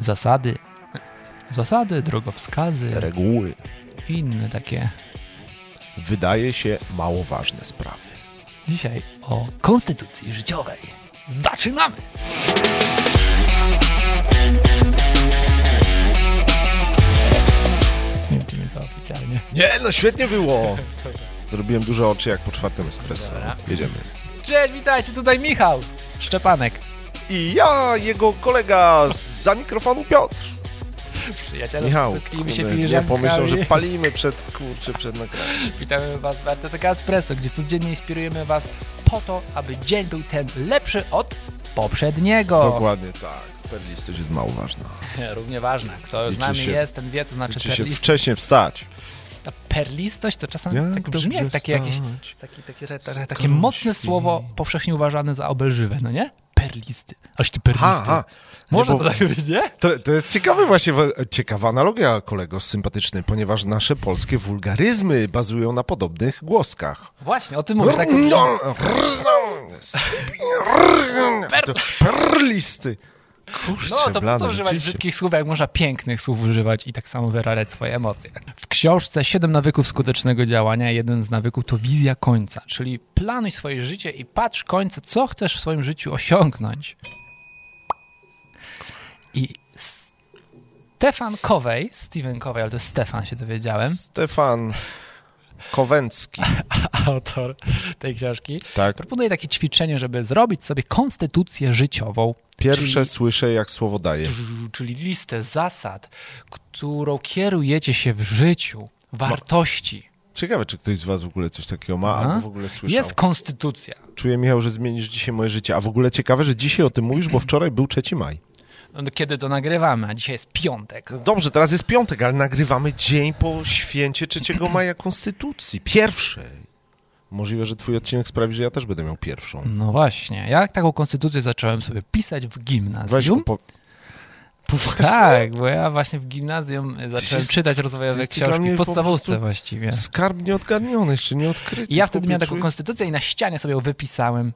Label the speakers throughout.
Speaker 1: zasady, zasady, drogowskazy
Speaker 2: reguły.
Speaker 1: i inne takie.
Speaker 2: Wydaje się mało ważne sprawy.
Speaker 1: Dzisiaj o konstytucji życiowej. Zaczynamy! Nie wiem, czy nie to oficjalnie.
Speaker 2: Nie, no świetnie było! Zrobiłem duże oczy jak po czwartym espresso.
Speaker 1: Dobra.
Speaker 2: Jedziemy.
Speaker 1: Cześć, witajcie, tutaj Michał Szczepanek.
Speaker 2: I ja, jego kolega za mikrofonu Piotr.
Speaker 1: Przyjaciele,
Speaker 2: Michał,
Speaker 1: stuknijmy tak, się
Speaker 2: kurde, nie
Speaker 1: filiżankami.
Speaker 2: pomyślał, że palimy przed, kurczę, przed nagraniem.
Speaker 1: Witamy Was w RTTK Espresso, gdzie codziennie inspirujemy Was po to, aby dzień był ten lepszy od poprzedniego.
Speaker 2: Dokładnie tak. Perlistość jest mało ważna.
Speaker 1: Równie ważne. Kto z
Speaker 2: Liczy
Speaker 1: nami
Speaker 2: się-
Speaker 1: jest, ten wie, co znaczy
Speaker 2: Czy się
Speaker 1: perlistość.
Speaker 2: wcześniej wstać?
Speaker 1: Ta perlistość to czasami tak brzmi jak takie jakieś... Taki, takie, re- takie, takie
Speaker 2: Skąd
Speaker 1: mocne
Speaker 2: się-
Speaker 1: słowo powszechnie uważane za obelżywe, no nie? Perlisty. Aż ty perlisty.
Speaker 2: Ha, ha.
Speaker 1: Może
Speaker 2: Nie, bo-
Speaker 1: to tak być, nie?
Speaker 2: To, to jest ciekawy właśnie, wa- ciekawa analogia, kolego sympatyczny, ponieważ nasze polskie wulgaryzmy bazują na podobnych głoskach.
Speaker 1: Właśnie, o tym mówię. Tak, brzmi.
Speaker 2: To Perlisty. Kurczę,
Speaker 1: No, to po
Speaker 2: blady,
Speaker 1: co używać
Speaker 2: rzeczywiście.
Speaker 1: brzydkich słów, jak można pięknych słów używać i tak samo wyrażać swoje emocje. W książce Siedem nawyków skutecznego działania jeden z nawyków to wizja końca, czyli planuj swoje życie i patrz końca, co chcesz w swoim życiu osiągnąć. I Stefan Kowej, Steven Kowej, ale to jest Stefan, się dowiedziałem,
Speaker 2: Stefan Kowęcki,
Speaker 1: autor tej książki,
Speaker 2: tak?
Speaker 1: proponuje takie ćwiczenie, żeby zrobić sobie konstytucję życiową.
Speaker 2: Pierwsze
Speaker 1: czyli-
Speaker 2: słyszę, jak słowo daje.
Speaker 1: czyli listę zasad, którą kierujecie się w życiu, wartości.
Speaker 2: Ciekawe, czy ktoś z was w ogóle coś takiego ma,
Speaker 1: A?
Speaker 2: albo w ogóle No, słyszał.
Speaker 1: Jest konstytucja.
Speaker 2: Czuję, Michał, że zmienisz dzisiaj moje życie. A w ogóle ciekawe, że dzisiaj o tym mówisz, bo wczoraj był 3 maj.
Speaker 1: No, Kiedy to nagrywamy, a dzisiaj jest piątek.
Speaker 2: No dobrze, teraz jest piątek, ale nagrywamy dzień po święcie 3 maja Konstytucji. Pierwszej. Możliwe, że twój odcinek sprawi, że ja też będę miał pierwszą.
Speaker 1: No właśnie, ja taką konstytucję zacząłem sobie pisać w
Speaker 2: Weź
Speaker 1: gimnazjum.
Speaker 2: po...
Speaker 1: Tak, bo ja właśnie w gimnazjum e, zacząłem
Speaker 2: jest-
Speaker 1: czytać
Speaker 2: ty
Speaker 1: rozwojowe
Speaker 2: jesteś dla
Speaker 1: książki,
Speaker 2: mnie
Speaker 1: w
Speaker 2: po
Speaker 1: podstawówce
Speaker 2: prostu-
Speaker 1: właściwie.
Speaker 2: Skarb nieodgadniony, jeszcze nie odkryty.
Speaker 1: I ja wtedy
Speaker 2: Chłopie,
Speaker 1: miałem taką
Speaker 2: czuję-
Speaker 1: konstytucję i na ścianie sobie ją wypisałem.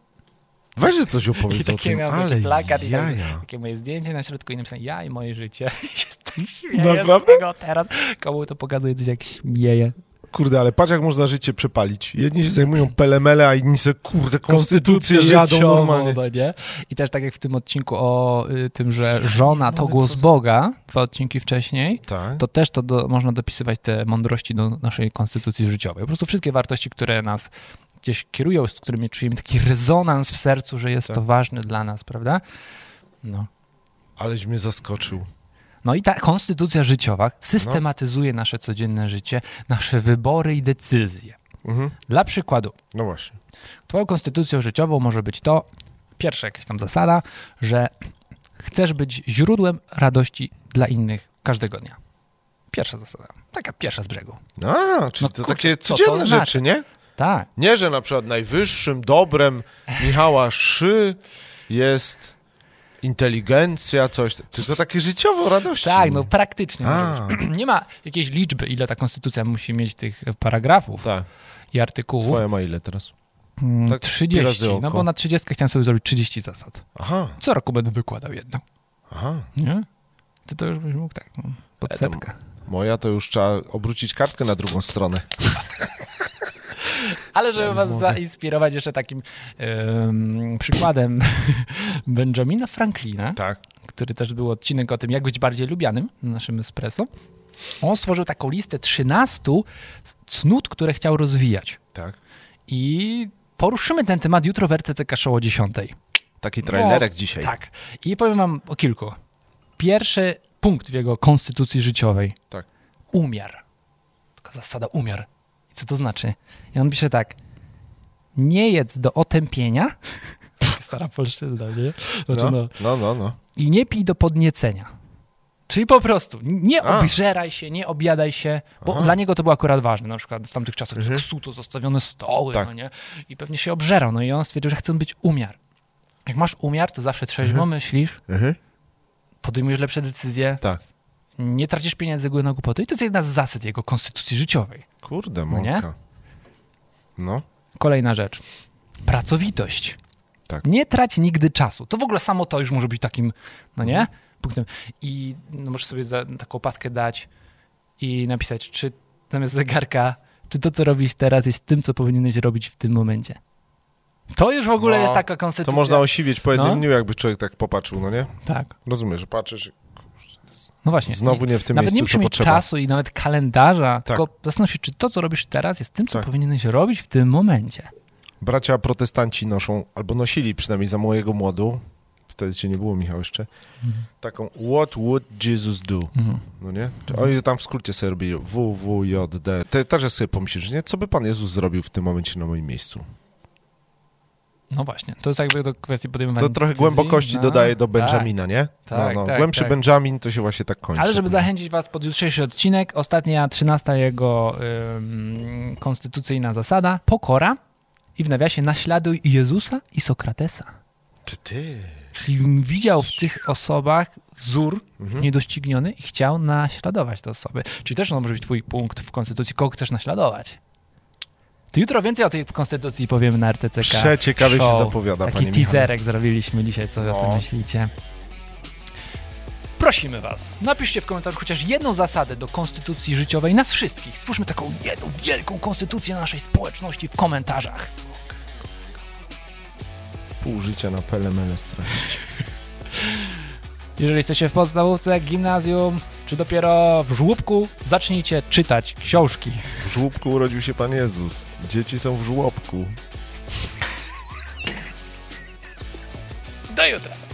Speaker 2: Weź że coś
Speaker 1: I
Speaker 2: opowiedz o
Speaker 1: takie
Speaker 2: tym,
Speaker 1: miał
Speaker 2: ale
Speaker 1: taki plakat i tak tam,
Speaker 2: jaja.
Speaker 1: takie moje zdjęcie na środku i napisałem ja i moje życie. Jestem śmieję z
Speaker 2: Naprawdę?
Speaker 1: tego teraz. Komu to pokazuje coś jak śmieje.
Speaker 2: Kurde, ale patrz jak można życie przepalić. Jedni się zajmują pelemele, a inni se kurde konstytucję jadą
Speaker 1: życiową,
Speaker 2: normalnie.
Speaker 1: no nie? I też tak jak w tym odcinku o y, tym, że żona to
Speaker 2: mogę, co
Speaker 1: głos
Speaker 2: za-
Speaker 1: Boga, dwa odcinki wcześniej,
Speaker 2: Tak?
Speaker 1: to też to do, można dopisywać te mądrości do naszej konstytucji życiowej. Po prostu wszystkie wartości, które nas gdzieś kierują, z którymi czujemy taki rezonans w sercu, że jest
Speaker 2: Tak.
Speaker 1: to ważne dla nas, prawda? No.
Speaker 2: Aleś mnie zaskoczył.
Speaker 1: No i ta konstytucja
Speaker 2: No.
Speaker 1: życiowa systematyzuje nasze codzienne życie, nasze wybory i decyzje.
Speaker 2: Mhm.
Speaker 1: Dla przykładu,
Speaker 2: No właśnie.
Speaker 1: twoją konstytucją życiową może być to, pierwsza jakaś tam zasada, że chcesz być źródłem radości dla innych każdego dnia. Pierwsza zasada. Taka pierwsza z brzegu.
Speaker 2: A, czyli
Speaker 1: No
Speaker 2: to
Speaker 1: kurczę,
Speaker 2: takie
Speaker 1: co to
Speaker 2: codzienne
Speaker 1: znaczy?
Speaker 2: rzeczy, nie?
Speaker 1: Tak.
Speaker 2: Nie, że na przykład najwyższym dobrem Michała Szy jest inteligencja, coś, tylko takie życiowe radości.
Speaker 1: Tak, no praktycznie. może
Speaker 2: A.
Speaker 1: być. Nie ma jakiejś liczby, ile ta konstytucja musi mieć tych e, paragrafów
Speaker 2: Tak,
Speaker 1: i artykułów.
Speaker 2: twoja ma ile teraz?
Speaker 1: Mm,
Speaker 2: tak razy
Speaker 1: 30. No
Speaker 2: oko.
Speaker 1: bo na 30 chciałem sobie zrobić 30 zasad.
Speaker 2: Aha,
Speaker 1: Co roku będę wykładał jedną.
Speaker 2: aha.
Speaker 1: Nie? Ty to już byś mógł tak, no, pod
Speaker 2: E, to m-
Speaker 1: setkę.
Speaker 2: Moja to już trzeba obrócić kartkę na drugą stronę.
Speaker 1: Ale żeby was zainspirować jeszcze takim em, przykładem Benjamina Franklina,
Speaker 2: Tak.
Speaker 1: który też był odcinek o tym, jak być bardziej lubianym na naszym espresso, on stworzył taką listę 13 cnót, które chciał rozwijać.
Speaker 2: Tak.
Speaker 1: I poruszymy ten temat jutro w RTCK Show o 10.
Speaker 2: Taki trailerek
Speaker 1: No,
Speaker 2: dzisiaj.
Speaker 1: Tak. I powiem wam o kilku. Pierwszy punkt w jego konstytucji życiowej.
Speaker 2: Tak.
Speaker 1: Umiar. Taka zasada umiar. I co to znaczy? I on pisze tak. Nie jedz do otępienia. Stara polszczyzna, nie? Znaczy,
Speaker 2: No,
Speaker 1: no,
Speaker 2: no, no. no.
Speaker 1: i nie pij do podniecenia. Czyli po prostu nie
Speaker 2: A.
Speaker 1: obżeraj się, nie objadaj się, bo
Speaker 2: Aha.
Speaker 1: dla niego to było akurat ważne. Na przykład w tamtych czasach mhm. to zostawione stoły,
Speaker 2: Tak.
Speaker 1: no nie? I pewnie się obżerał. No i on stwierdził, że chce być umiar. Jak masz umiar, to zawsze trzeźwo myślisz,
Speaker 2: Mhm.
Speaker 1: podejmujesz lepsze decyzje,
Speaker 2: Tak.
Speaker 1: nie tracisz pieniędzy na głupoty. I to jest jedna z zasad jego konstytucji życiowej.
Speaker 2: Kurde,
Speaker 1: No nie?
Speaker 2: mąka. No.
Speaker 1: Kolejna rzecz. Pracowitość.
Speaker 2: Tak. Mhm.
Speaker 1: Nie trać nigdy czasu. To w ogóle samo to już może być takim, no nie? punktem. I no, możesz sobie za, taką opaskę dać i napisać, czy zamiast zegarka, czy to, co robisz teraz, jest tym, co powinieneś robić w tym momencie. To już w ogóle
Speaker 2: No,
Speaker 1: jest taka
Speaker 2: To
Speaker 1: konstytucja.
Speaker 2: można osiwieć po jednym
Speaker 1: No.
Speaker 2: dniu, jakby człowiek tak popatrzył, no nie?
Speaker 1: Tak,
Speaker 2: Rozumiesz, że patrzysz,
Speaker 1: no właśnie.
Speaker 2: znowu nie w tym
Speaker 1: nawet nie
Speaker 2: miejscu,
Speaker 1: musisz
Speaker 2: co
Speaker 1: mieć
Speaker 2: potrzeba.
Speaker 1: czasu i nawet kalendarza, tylko zastanów się, czy to, co robisz teraz, jest tym, co
Speaker 2: Tak.
Speaker 1: powinieneś robić w tym momencie.
Speaker 2: Bracia protestanci noszą, albo nosili przynajmniej za mojego młodu, wtedy cię nie było, Michał, jeszcze, taką What would Jesus do?
Speaker 1: Mhm.
Speaker 2: No nie? Czy Oni tam w skrócie sobie robili WWJD. Ty też sobie pomyślisz, nie? Co by Pan Jezus zrobił w tym momencie na moim miejscu?
Speaker 1: No właśnie, to jest jakby do kwestii podejmowania
Speaker 2: To trochę
Speaker 1: decyzji,
Speaker 2: głębokości
Speaker 1: no.
Speaker 2: dodaje do
Speaker 1: Tak.
Speaker 2: Benjamina, nie?
Speaker 1: Tak,
Speaker 2: no, no.
Speaker 1: tak,
Speaker 2: Głębszy
Speaker 1: tak.
Speaker 2: Benjamin to się właśnie tak kończy.
Speaker 1: Ale żeby zachęcić was pod jutrzejszy odcinek, ostatnia, trzynasta jego ym, konstytucyjna zasada, pokora i w nawiasie naśladuj Jezusa i Sokratesa.
Speaker 2: Ty, ty.
Speaker 1: Czyli widział w tych osobach wzór
Speaker 2: Mhm.
Speaker 1: niedościgniony i chciał naśladować te osoby. Czyli też on może być twój punkt w konstytucji, kogo chcesz naśladować. To jutro więcej o tej konstytucji powiemy na RTCK.
Speaker 2: Przeciekawie się
Speaker 1: Show.
Speaker 2: zapowiada,
Speaker 1: Taki
Speaker 2: panie Michale.
Speaker 1: teaserek zrobiliśmy dzisiaj, co wy o
Speaker 2: No.
Speaker 1: tym myślicie. Prosimy was, napiszcie w komentarzu chociaż jedną zasadę do konstytucji życiowej nas wszystkich. Stwórzmy taką jedną wielką konstytucję naszej społeczności w komentarzach.
Speaker 2: Pół życia na PLML stracić.
Speaker 1: Jeżeli jesteście w podstawówce, gimnazjum, czy dopiero w żłobku, zacznijcie czytać książki.
Speaker 2: W żłobku urodził się Pan Jezus. Dzieci są w żłobku.
Speaker 1: Do jutra!